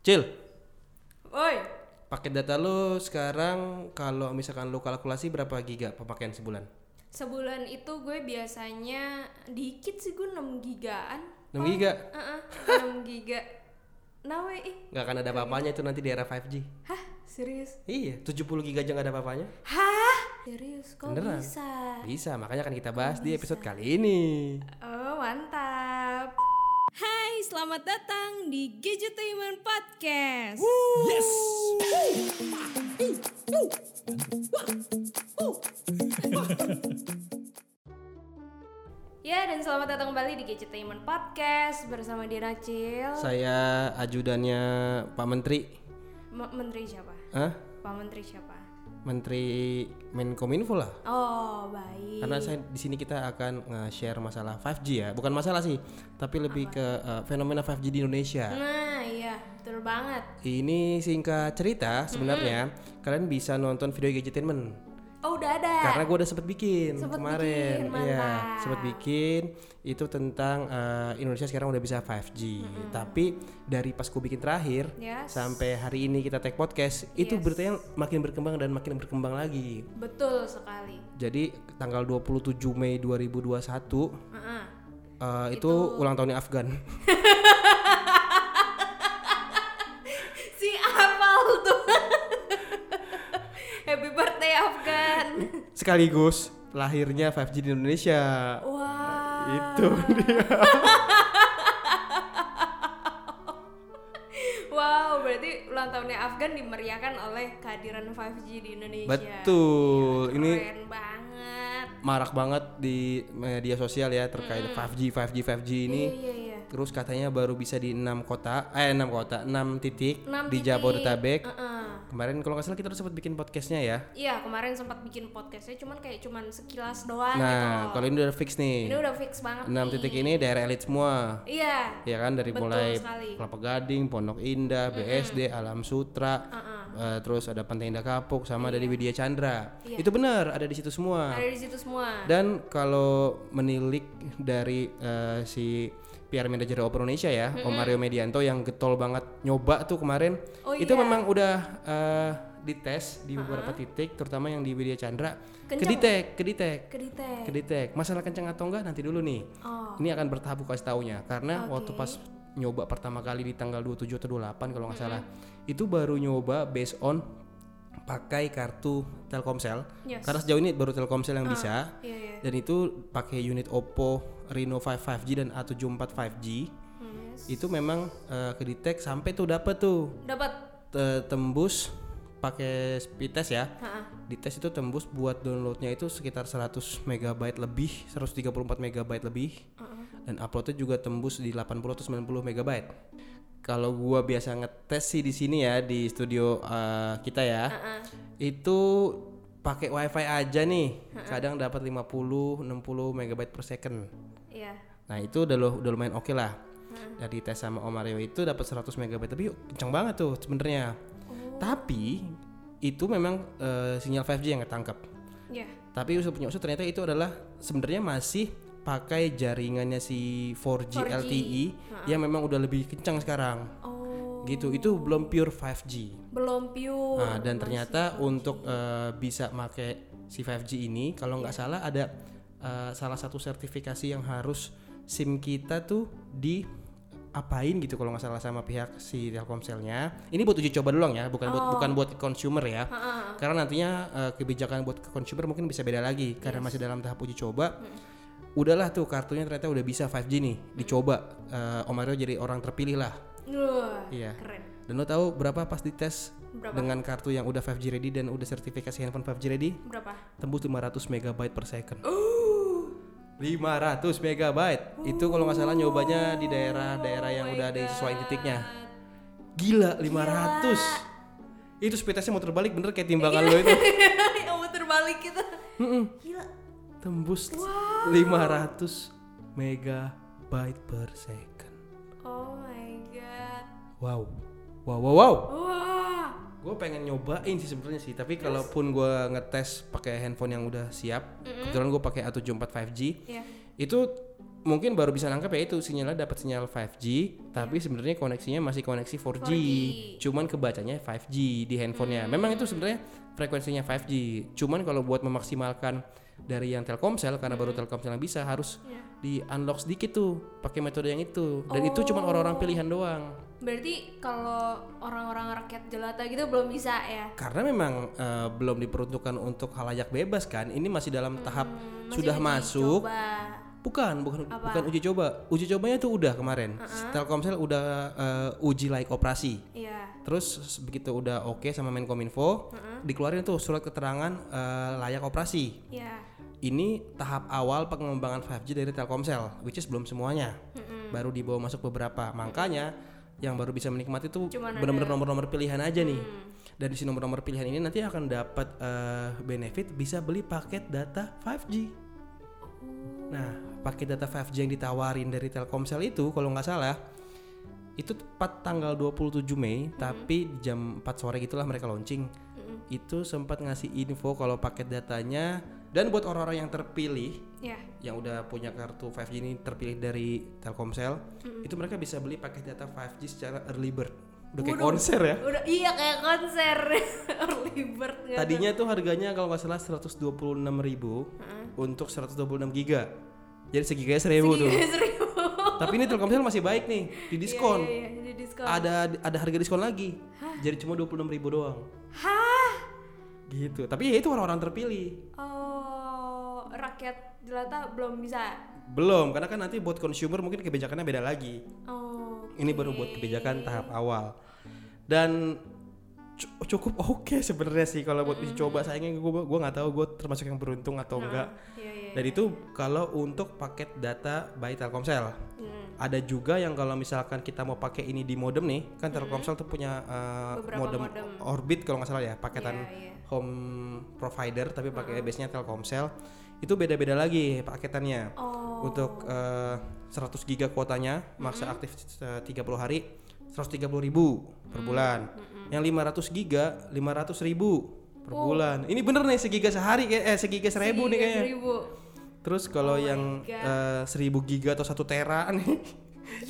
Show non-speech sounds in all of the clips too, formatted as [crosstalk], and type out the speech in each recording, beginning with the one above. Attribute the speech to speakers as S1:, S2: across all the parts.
S1: Cil,
S2: Woi,
S1: paket data lu sekarang kalau misalkan lu kalkulasi berapa giga pemakaian sebulan?
S2: sebulan itu gue biasanya dikit sih gue 6 gigaan.
S1: 6 giga?
S2: Heeh, 6 giga. Nah, we, ih.
S1: Nggak akan ada apa-apanya itu nanti di era 5G.
S2: Hah, serius?
S1: Iya, 70 giga aja nggak ada apa-apanya.
S2: Hah? Serius, kok
S1: Beneran.
S2: bisa?
S1: Bisa, makanya akan kita bahas di episode kali ini.
S2: Oh, mantap. Hai, selamat datang di Gadgetainment Podcast.
S1: Yes.
S2: Ya, dan selamat datang kembali di Gadgetainment Podcast bersama Dina Cil.
S1: Saya ajudannya Pak Menteri.
S2: M- Menteri siapa?
S1: Hah?
S2: Pak Menteri siapa?
S1: Menteri Menkominfo lah.
S2: Oh, baik.
S1: Karena saya di sini kita akan nge-share masalah 5G ya. Bukan masalah sih, tapi lebih ke eh, fenomena 5G di Indonesia.
S2: Nah, iya, betul banget.
S1: Ini singkat cerita sebenarnya kalian bisa nonton video gadgetainment
S2: Oh, udah ada.
S1: karena gue udah sempet bikin
S2: Sempet
S1: kemarin,
S2: bikin,
S1: iya
S2: mantap.
S1: sempet bikin itu tentang eh, Indonesia sekarang udah bisa 5G. Tapi dari pas gue bikin terakhir
S2: Yes.
S1: sampai hari ini kita tag podcast itu
S2: Yes.
S1: beritanya makin berkembang dan makin berkembang lagi.
S2: Betul sekali.
S1: Jadi tanggal 27 Mei 2021
S2: Heeh.
S1: eh, itu, ulang tahunnya Afgan. [laughs]
S2: Si Apal tuh. [laughs] Happy birthday Afgan.
S1: Sekaligus lahirnya 5G di Indonesia.
S2: Wah.
S1: Itu dia.
S2: Wow, berarti ulang tahunnya Afgan dimeriahkan oleh kehadiran 5G di Indonesia.
S1: Betul. Ini
S2: Iya, Keren banget.
S1: marak banget di media sosial ya terkait 5G 5G 5G ini.
S2: Iya, iya, iya.
S1: Terus katanya baru bisa di 6 kota, eh 6 kota, 6 titik
S2: Enam
S1: di
S2: titik.
S1: Jabodetabek.
S2: Heeh.
S1: Kemarin kalau nggak salah kita udah sempat bikin podcastnya ya.
S2: Iya, kemarin sempat bikin podcastnya cuman kayak cuman sekilas doang
S1: Nah,
S2: gitu.
S1: kalau ini udah fix
S2: Ini
S1: nih.
S2: udah fix banget.
S1: 6
S2: nih.
S1: titik ini daerah elit semua.
S2: Iya.
S1: Ya kan dari
S2: Betul
S1: mulai
S2: sekali.
S1: Kelapa Gading, Pondok Indah, BSD, Alam Sutra,
S2: Ah,
S1: eh, terus ada Pantai Indah Kapuk sama ada di Widya Chandra. Itu benar ada di situ semua.
S2: Iya. Ada di situ
S1: Iya.
S2: semua.
S1: Dan kalau menilik dari eh, si PR manajer Opera Indonesia ya, Om Mario Medianto yang getol banget nyoba tuh kemarin.
S2: Oh
S1: itu
S2: iya.
S1: memang udah eh, dites di beberapa titik, terutama yang di Widya Chandra.
S2: Kenceng.
S1: Keditek, keditek,
S2: Kedite.
S1: keditek. Masalah kenceng atau enggak nanti dulu nih.
S2: Oh.
S1: Ini akan bertahap gue kasih taunya karena
S2: Oke.
S1: waktu pas nyoba pertama kali di tanggal 27 atau 28 kalau nggak salah, itu baru nyoba based on pakai kartu Telkomsel.
S2: Yes.
S1: Karena sejauh ini baru Telkomsel yang bisa.
S2: Iya, iya.
S1: Dan itu pakai unit Oppo Reno 5 5G dan A74 5G.
S2: Yes.
S1: Itu memang eh, ke detect sampai tuh dapet tuh
S2: Dapat.
S1: Te- tembus pakai speed test ya.
S2: Ha-ha.
S1: Di tes itu tembus buat downloadnya itu sekitar 100 MB lebih, 134 MB lebih. Dan uploadnya juga tembus di 80 atau 90 MB. Kalau gua biasa ngetes sih di sini ya di studio eh, kita ya. Itu pakai wifi aja nih. Kadang dapat 50 60 MB per second.
S2: Iya.
S1: Nah itu udah, lu- udah lumayan oke lah. Dari tes sama Om Mario itu dapat 100 MB tapi kenceng banget tuh sebenarnya. Tapi itu memang eh, sinyal 5G yang ketangkap.
S2: Iya.
S1: Tapi usut punya usut ternyata itu adalah sebenarnya masih pakai jaringannya si 4G,
S2: 4G.
S1: LTE E yang memang udah lebih kencang sekarang.
S2: Oh,
S1: Gitu. Itu belum pure 5G.
S2: belum pure.
S1: Nah, dan ternyata untuk eh, bisa make si 5G ini kalau nggak salah ada eh, salah satu sertifikasi yang harus SIM kita tuh di apain gitu kalau nggak salah sama pihak si Telkomselnya. Ini buat uji coba doang ya, bukan buat bukan buat consumer ya. Karena nantinya eh, kebijakan buat ke consumer mungkin bisa beda lagi karena masih dalam tahap uji coba. Udahlah tuh kartunya ternyata udah bisa 5G nih, dicoba. Eh, Om Mario jadi orang terpilih lah.
S2: Wah,
S1: Iya.
S2: keren.
S1: Dan lo tahu berapa pas dites
S2: Berapa?
S1: dengan kartu yang udah 5G ready dan udah sertifikasi handphone 5G ready?
S2: Berapa? [laughs]
S1: Tembus 500 MB per second. 500 MB. Itu kalau nggak salah nyobanya di daerah-daerah yang udah ada sesuai titiknya. Gila 500. Itu speed testnya muter balik bener kayak timbangan lo itu.
S2: Yang muter balik kita.
S1: Mm-mm.
S2: Gila.
S1: Tembus 500 MB per second.
S2: Oh my god.
S1: Wow. Wow wow wow.
S2: Wah.
S1: Gue pengen nyobain sih sebenarnya sih, tapi kalaupun gue ngetes pakai handphone yang udah siap, kebetulan gue pakai A74 5G,
S2: Iya.
S1: itu mungkin baru bisa nangkep ya itu sinyalnya dapat sinyal 5G tapi sebenarnya koneksinya masih koneksi 4G,
S2: 4G.
S1: cuman kebacanya 5G di handphonenya memang itu sebenarnya frekuensinya 5G cuman kalau buat memaksimalkan dari yang Telkomsel karena baru Telkomsel yang bisa harus
S2: Iya.
S1: di unlock sedikit tuh pakai metode yang itu dan itu cuman orang-orang pilihan doang
S2: Berarti kalau orang-orang rakyat jelata gitu belum bisa ya?
S1: karena memang eh, belum diperuntukkan untuk halayak bebas kan ini masih dalam tahap
S2: Hmm, Masih
S1: sudah
S2: uji
S1: masuk
S2: coba.
S1: Bukan, bukan
S2: Apa?
S1: bukan uji coba. Uji cobanya tuh udah kemarin. Telkomsel udah eh, uji layak operasi.
S2: Iya.
S1: Terus se- begitu udah oke sama Menkominfo, dikeluarin tuh surat keterangan eh, layak operasi.
S2: Iya.
S1: Ini tahap awal pengembangan 5G dari Telkomsel, which is belum semuanya. Baru dibawa masuk beberapa. Makanya yang baru bisa menikmati tuh
S2: Cuman
S1: benar-benar nomor-nomor pilihan aja nih. Dan di si nomor-nomor pilihan ini nanti akan dapat eh, benefit bisa beli paket data 5G. Nah, paket data 5G yang ditawarin dari Telkomsel itu kalau nggak salah itu tepat tanggal 27 Mei, tapi jam 4 sore gitulah mereka launching. Itu sempat ngasih info kalau paket datanya dan buat orang-orang yang terpilih
S2: Iya.
S1: yang udah punya kartu 5G ini terpilih dari Telkomsel, itu mereka bisa beli paket data 5G secara early bird. Udah kayak
S2: Waduh.
S1: konser ya.
S2: Udah iya kayak konser [laughs] early bird gitu.
S1: Tadinya tuh harganya kalau nggak salah 126.000 untuk 126 giga. Jadi segiganya 1000 tuh.
S2: [laughs] Iya, serius.
S1: Tapi ini Telkomsel masih baik nih, di diskon.
S2: Iya, iya, di diskon.
S1: Ada ada harga diskon lagi. Jadi cuma 26.000 doang.
S2: Hah?
S1: Gitu. Tapi ya itu orang-orang terpilih.
S2: Oh, rakyat jelata belum bisa.
S1: Belum, karena kan nanti buat consumer mungkin kebijakannya beda lagi.
S2: Oh.
S1: Ini baru buat kebijakan tahap awal. Dan cu- cukup oke sebenarnya sih kalau buat uji
S2: Hmm.
S1: coba sayangnya gue gua nggak tahu gue termasuk yang beruntung atau enggak.
S2: Iya, iya.
S1: Dan itu kalau untuk paket data by Telkomsel.
S2: Hmm.
S1: Ada juga yang kalau misalkan kita mau pakai ini di modem nih, kan Telkomsel tuh punya eh,
S2: Hmm. Beberapa
S1: modem,
S2: modem.
S1: Orbit kalau nggak salah ya, paketan
S2: Iya, Hmm. iya.
S1: home provider tapi pakai base-nya Telkomsel. Itu beda-beda lagi paketannya.
S2: Oh.
S1: Untuk eh, 100 giga kuotanya maksa aktif eh, 30 hari 130.000 per bulan. Yang 500 giga 500.000 per bulan. Ini bener nih segiga sehari kayak- eh segiga seribu Oh nih kayaknya.
S2: 3000.
S1: Terus kalau yang
S2: God.
S1: eh, 1000 giga atau 1 tera nih.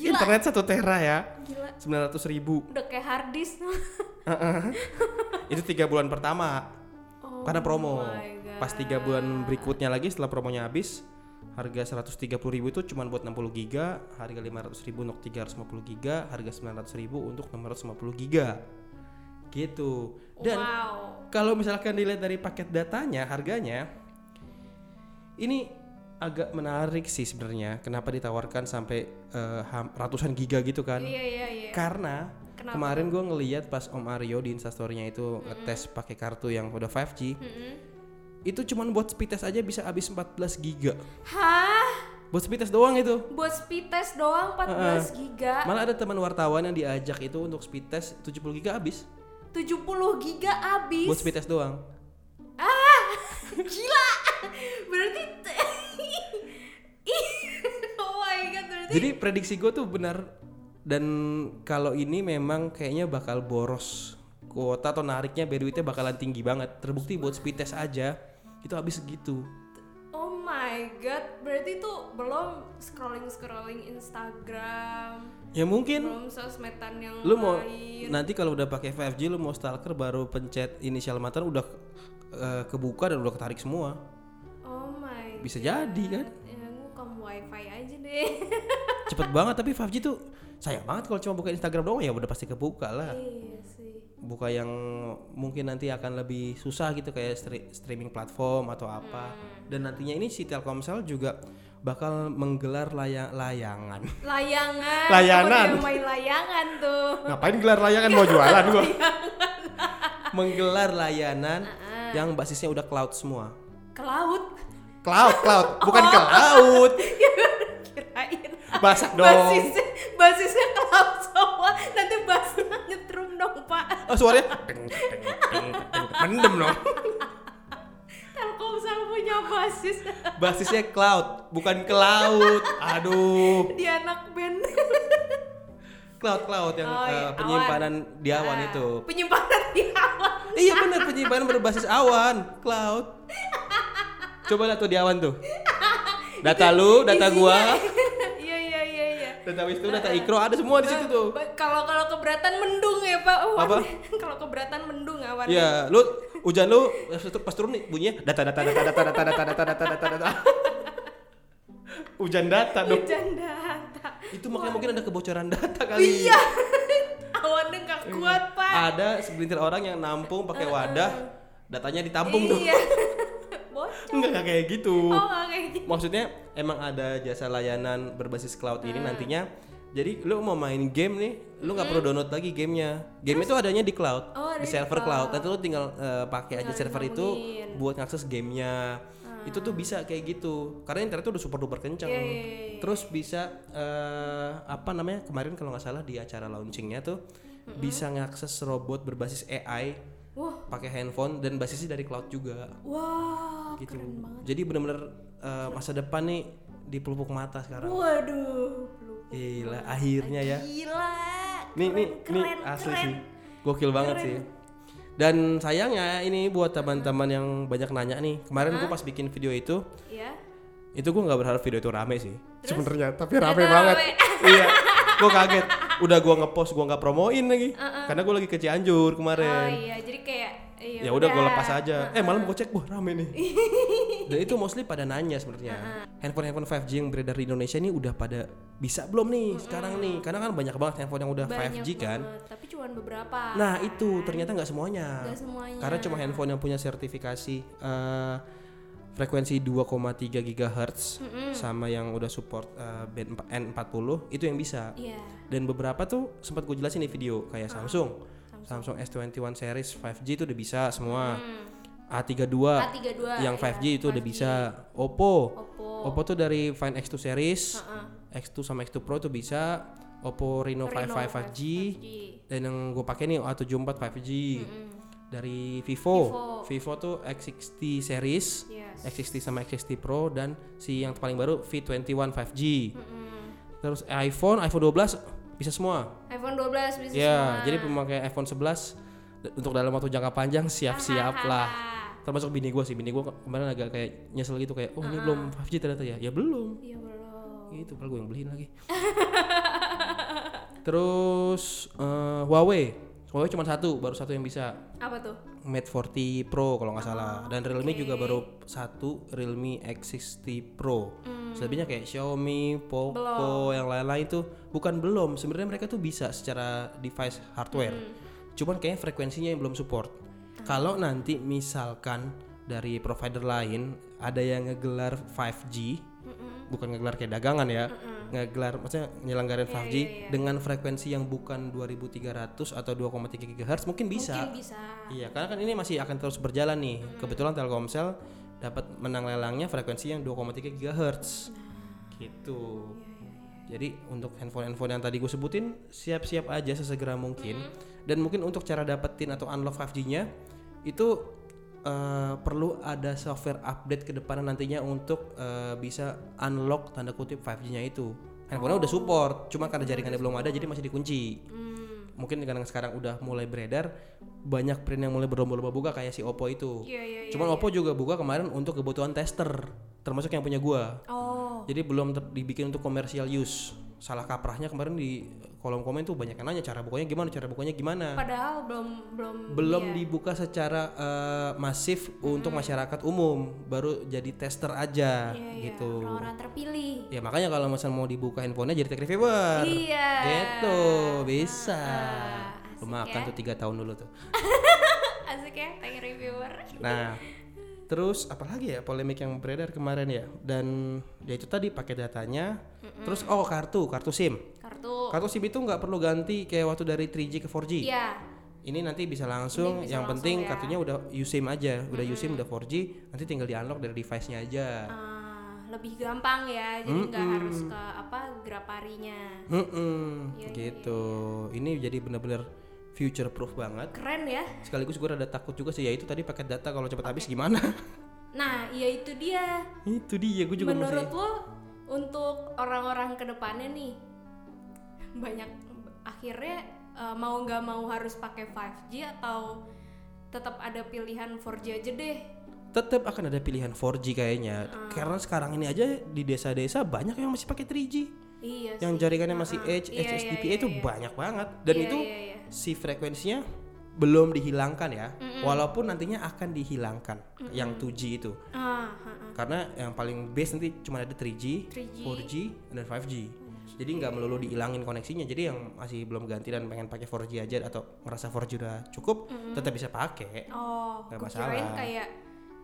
S1: Internet 1 tera ya.
S2: Gila.
S1: 900 ribu.
S2: Udah kayak hard disk. [laughs]
S1: Itu 3 bulan pertama.
S2: Oh
S1: karena promo.
S2: my God.
S1: Pas 3 bulan berikutnya lagi setelah promonya habis, harga 130 ribu itu cuma buat 60 giga, harga 500 ribu untuk 350 giga, harga 900 ribu untuk 650 giga. Gitu.
S2: Oh
S1: Dan
S2: wow.
S1: kalau misalkan dilihat dari paket datanya harganya ini agak menarik sih sebenarnya kenapa ditawarkan sampai eh, ham- ratusan giga gitu kan
S2: Iya iya iya.
S1: karena
S2: Kenapa?
S1: kemarin gue ngeliat pas Om Aryo di instastorynya itu ngetes pakai kartu yang udah 5G
S2: Mm-mm.
S1: itu cuman buat speed test aja bisa habis 14 giga
S2: Hah?
S1: buat speed test doang itu
S2: Buat speed test doang 14 giga,
S1: malah ada teman wartawan yang diajak itu untuk speed test 70 giga habis
S2: 70 giga abis.
S1: buat speed test doang
S2: Ah, [laughs] gila. Berarti t- [laughs] Ih, Oh my god, berarti
S1: Jadi prediksi gue tuh benar dan kalau ini memang kayaknya bakal boros kuota atau nariknya biar duitnya bakalan tinggi banget. Terbukti buat speed test aja itu habis segitu.
S2: Oh my god, berarti tuh belum scrolling-scrolling Instagram,
S1: Ya mungkin
S2: belum sosmedan yang
S1: lu mau
S2: lain.
S1: nanti kalau udah pakai 5G lu mau stalker baru pencet inisial matan udah eh, kebuka dan udah ketarik semua.
S2: Oh my
S1: Bisa jadi kan.
S2: Ya, ngukam wifi aja deh. [laughs]
S1: Cepet banget tapi 5G tuh sayang banget kalau cuma buka Instagram doang ya udah pasti kebuka lah.
S2: iya sih.
S1: buka yang mungkin nanti akan lebih susah gitu kayak stri- streaming platform atau apa dan nantinya ini si Telkomsel juga bakal menggelar laya- layangan
S2: Layangan.
S1: Layanan.
S2: Aku udah main layangan tuh.
S1: ngapain gelar layangan mau jualan gua menggelar layanan yang basisnya udah cloud semua
S2: Ke laut. [laughs]
S1: cloud cloud bukan ke laut
S2: Kirain.
S1: basah dong
S2: Basisnya, basisnya ke laut semua. Nanti basnya nyetrum dong, Pak.
S1: oh suaranya teng, teng, teng, teng. mendem dong
S2: Telkomsel punya basis.
S1: basisnya cloud bukan ke laut aduh
S2: Dia anak band.
S1: cloud cloud yang
S2: Oh,
S1: eh,
S2: iya,
S1: penyimpanan di awan
S2: Ah,
S1: itu
S2: Penyimpanan di awan.
S1: iya bener penyimpanan berbasis awan
S2: [laughs]
S1: cloud coba lihat tuh di awan tuh data lu data gua
S2: Iya,
S1: data Wisnu, data Ikro ada semua di situ tuh.
S2: Ba- Kalau kalau keberatan mendung ya Pak. Oh,
S1: Apa?
S2: [laughs] kalau keberatan mendung awan.
S1: Iya, lu hujan lu pas tu- pas turun nih bunyinya data data data data data data data data data data. Hujan data dong.
S2: Hujan data.
S1: Itu makanya mungkin ada kebocoran data kali.
S2: Iya. Awannya nggak
S1: Iya.
S2: kuat Pak.
S1: Ada segelintir orang yang nampung pakai wadah, datanya ditampung tuh.
S2: Iya. [laughs] Bocor.
S1: [laughs] Enggak enggak kayak gitu.
S2: Oh nggak kayak gitu.
S1: Maksudnya emang ada jasa layanan berbasis cloud ini
S2: Hmm.
S1: nantinya. Jadi lu mau main game nih, lu nggak perlu download lagi gamenya. Game itu adanya di cloud,
S2: Oh, ada
S1: di
S2: di
S1: server cloud. Nanti lu tinggal eh, pakai aja
S2: Tinggal
S1: server itu
S2: dihubungin.
S1: buat ngakses gamenya. Itu tuh bisa kayak gitu. Karena internet tuh udah super duper kencang.
S2: Iya, iya, iya, iya.
S1: Terus bisa eh, apa namanya? Kemarin kalau nggak salah di acara launchingnya tuh bisa ngakses robot berbasis AI
S2: Hmm. Wah.
S1: pakai handphone dan basisnya dari cloud juga
S2: Wah.
S1: gitu. Jadi benar-benar eh, masa depan nih di pelupuk mata sekarang.
S2: Waduh. lu-
S1: Gila, akhirnya ya.
S2: Gila.
S1: Nih nih nih asli sih. Gokil banget sih. Dan sayangnya ini buat teman-teman yang banyak nanya nih. Kemarin gue pas bikin video itu,
S2: Ya.
S1: itu gue nggak berharap video itu rame sih. [laughs] Sebenarnya, tapi
S2: Ternyata rame.
S1: iya, gue kaget. Udah gue ngepost, gue nggak promoin lagi. Karena gue lagi ke Cianjur
S2: Oh
S1: kemarin.
S2: iya, jadi kayak iya,
S1: ya udah gue lepas aja eh malam gue cek wah rame
S2: [laughs]
S1: nih dan itu mostly pada nanya sebenarnya handphone handphone 5G yang beredar di Indonesia ini udah pada bisa belum nih sekarang nih karena kan banyak banget handphone yang udah
S2: Banyak
S1: 5G kan
S2: banget, tapi cuman beberapa. Iya.
S1: nah itu ternyata nggak semuanya
S2: Nggak semuanya.
S1: karena cuma handphone yang punya sertifikasi eh, frekuensi 2,3 GHz sama yang udah support eh, band empa- N40 itu yang bisa
S2: Iya.
S1: dan beberapa tuh sempat gue jelasin di video kayak Samsung. Ah, Samsung Hmm. S21 series 5G itu udah bisa semua. A32,
S2: A32,
S1: yang
S2: iya,
S1: 5G itu udah bisa. Oppo.
S2: Oppo.
S1: Oppo tuh dari Find X2 series, X2 sama X2 Pro tuh bisa. Oppo Reno,
S2: Reno
S1: 55 5G.
S2: 5G.
S1: Dan yang gue pakai nih A74 5G. Dari Vivo. Vivo. Iya. tuh X60 series,
S2: Yes.
S1: X60 sama X60 Pro dan si yang paling baru V21 5G. Terus eh, iPhone, iPhone 12 bisa semua.
S2: iPhone 12 bisa
S1: Ya,
S2: semua.
S1: jadi pemakai iPhone 11 d- untuk dalam waktu jangka panjang siap-siap lah. Termasuk bini gue sih, bini gue kemarin agak kayak nyesel gitu kayak, oh ini
S2: Uh-huh.
S1: belum 5G ternyata ya, ya belum.
S2: Iya belum.
S1: Gitu, padahal gue yang beliin
S2: [laughs]
S1: lagi. Terus eh, Huawei, Huawei cuma satu, baru satu yang bisa
S2: Apa tuh?
S1: Mate 40 Pro kalau nggak salah dan Realme juga baru satu Realme X60 Pro. Selebihnya kayak Xiaomi, Poco, yang lain-lain itu bukan belum. Sebenarnya mereka tuh bisa secara device hardware. Cuman kayaknya frekuensinya yang belum support. Kalau nanti misalkan dari provider lain ada yang ngegelar 5G, bukan ngegelar kayak dagangan ya ngegelar maksudnya nyelenggarain 5G dengan frekuensi yang bukan 2300 atau 2,3 GHz mungkin bisa
S2: Mungkin bisa.
S1: Iya, karena kan ini masih akan terus berjalan nih. Kebetulan Telkomsel dapat menang lelangnya frekuensi yang 2,3 GHz. Gitu. Jadi untuk handphone-handphone yang tadi gue sebutin siap-siap aja sesegera mungkin. Dan mungkin untuk cara dapetin atau unlock 5G-nya itu eh, perlu ada software update ke depan nantinya untuk eh, bisa unlock tanda kutip 5G-nya itu. Handphonenya udah support, cuma karena jaringannya belum ada jadi masih dikunci mungkin karena sekarang udah mulai beredar banyak brand yang mulai berlomba-lomba buka kayak si Oppo itu.
S2: Iya, iya, iya.
S1: Cuman Oppo juga buka kemarin untuk kebutuhan tester, termasuk yang punya gua.
S2: Oh.
S1: Jadi belum ter- dibikin untuk commercial use. Salah kaprahnya kemarin di kolom komen tuh banyak yang nanya cara bukanya gimana, cara bukanya gimana.
S2: Padahal belum belum
S1: belum dibuka secara eh, masif untuk masyarakat umum, baru jadi tester aja
S2: Hmm. Iya, iya.
S1: gitu.
S2: orang-orang terpilih.
S1: Ya makanya kalau misalnya mau dibuka handphonenya jadi tech reviewer.
S2: Iya.
S1: Gitu, bisa.
S2: asik
S1: Lu makan
S2: ya.
S1: tuh tiga tahun dulu tuh.
S2: Asik ya, tanya reviewer.
S1: Nah, terus apalagi ya polemik yang beredar kemarin ya? Dan ya itu tadi pakai datanya. Terus oh kartu, kartu SIM.
S2: Kartu.
S1: Kartu SIM itu nggak perlu ganti kayak waktu dari 3G ke 4G.
S2: Oh. Iya.
S1: Ini nanti bisa langsung. yang penting
S2: ya.
S1: kartunya udah USIM aja, udah USIM udah 4G, nanti tinggal di unlock dari device-nya aja.
S2: Ah, lebih gampang ya, jadi nggak harus ke apa graparinya.
S1: Mm-mm,
S2: Iya,
S1: gitu. Ini jadi bener-bener future proof banget.
S2: Keren ya.
S1: Sekaligus gue rada takut juga sih ya itu tadi paket data kalau cepet habis gimana? [laughs]
S2: Nah, iya itu dia.
S1: itu dia gue juga
S2: Menurut
S1: masih.
S2: lo untuk orang-orang kedepannya nih banyak akhirnya eh, mau nggak mau harus pakai 5G atau tetap ada pilihan 4G aja deh.
S1: tetap akan
S2: Ah.
S1: ada pilihan 4G kayaknya. Karena sekarang ini aja di desa-desa banyak yang masih pakai 3G.
S2: Iya
S1: yang
S2: sih.
S1: jaringannya masih
S2: Ah, ah.
S1: Edge,
S2: Iya, iya,
S1: HSDPA
S2: iya,
S1: itu
S2: iya.
S1: banyak banget dan
S2: Iya,
S1: itu
S2: iya, iya.
S1: si frekuensinya belum dihilangkan ya.
S2: Mm-mm.
S1: Walaupun nantinya akan dihilangkan yang 2G itu.
S2: Ah, ah, ah.
S1: Karena yang paling base nanti cuma ada 3G,
S2: 3G.
S1: 4G, dan 5G. Jadi nggak melulu dihilangin koneksinya. Jadi yang masih belum ganti dan pengen pakai 4G aja atau ngerasa 4G udah cukup,
S2: Mm-hmm.
S1: tetap bisa pakai.
S2: Oh,
S1: Nggak
S2: gua
S1: masalah.
S2: kirain kayak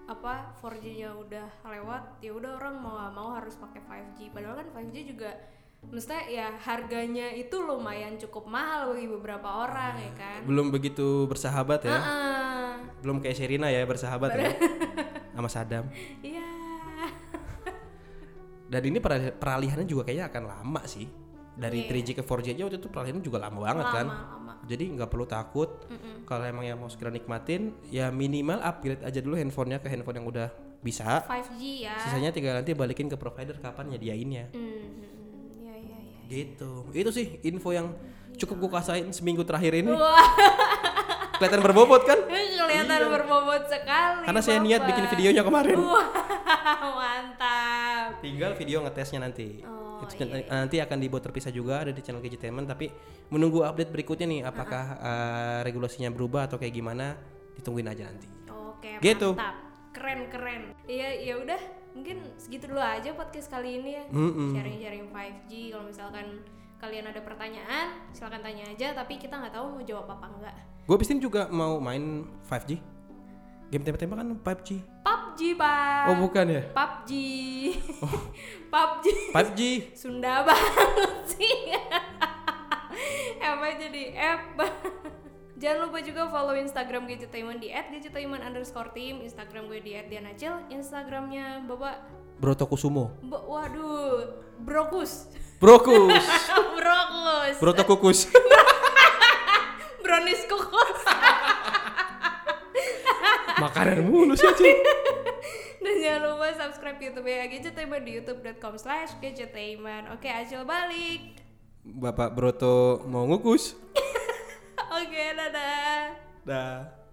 S2: apa 4G-nya udah lewat, ya udah orang mau nggak mau harus pakai 5G. Padahal kan 5G juga mestinya ya harganya itu lumayan cukup mahal bagi beberapa orang ya kan.
S1: Belum begitu bersahabat
S2: Ah,
S1: ya.
S2: Heeh.
S1: Belum kayak Sherina ya bersahabat ya.
S2: [laughs]
S1: Sama Sadam.
S2: Iya.
S1: Dan ini peral- peralihannya juga kayaknya akan lama sih. Dari 3G
S2: Iya.
S1: ke 4G aja waktu itu peralihannya juga lama banget
S2: Lama,
S1: kan.
S2: lama.
S1: Jadi nggak perlu takut. Kalau emang yang mau segera nikmatin, ya minimal upgrade aja dulu handphonenya ke handphone yang udah bisa.
S2: 5G ya.
S1: Sisanya tinggal nanti balikin ke provider kapan nyediainnya.
S2: Hmm, ya ya ya.
S1: Gitu. Itu sih info yang cukup gue kasain seminggu terakhir ini.
S2: Wah,
S1: Kelihatan berbobot kan?
S2: kelihatan berbobot sekali.
S1: Karena saya niat bikin
S2: Bapak.
S1: videonya kemarin.
S2: Wah, [laughs] mantap.
S1: Tinggal video ngetesnya nanti.
S2: Oh,
S1: Itu nanti- nanti akan dibuat terpisah juga ada di channel Gadgetainment tapi menunggu update berikutnya nih apakah eh, regulasinya berubah atau kayak gimana ditungguin aja nanti.
S2: Oke,
S1: Gitu.
S2: mantap. Keren-keren. Iya, ya udah, mungkin segitu dulu aja podcast kali ini ya.
S1: Mm-mm.
S2: Sharing-sharing 5G kalau misalkan kalian ada pertanyaan, silakan tanya aja tapi kita nggak tahu mau jawab apa enggak.
S1: Gue pistin juga mau main 5G. Game kan tembak-tembakan 5G.
S2: PUBG, Pak.
S1: Oh bukan ya?
S2: PUBG. [laughs] PUBG
S1: 5G.
S2: Sunda [laughs] banget sih. Apa jadi app? Jangan lupa juga follow Instagram Gadgetainment di @gadgetainment underscore team, Instagram gue di @dianacil, Instagramnya Bapak
S1: Broto Kusumo.
S2: Ba- waduh, brokus. [laughs]
S1: Brokus. [laughs]
S2: brokus.
S1: Broto Kukus.
S2: Brownies kukus.
S1: [laughs] Makanan mulu sih cuy.
S2: Dan jangan lupa subscribe YouTube ya Gadgetainment di youtube.com slash gadgetainment. Oke, Acil balik.
S1: Bapak Broto mau ngukus.
S2: Oke, dadah.
S1: Dah.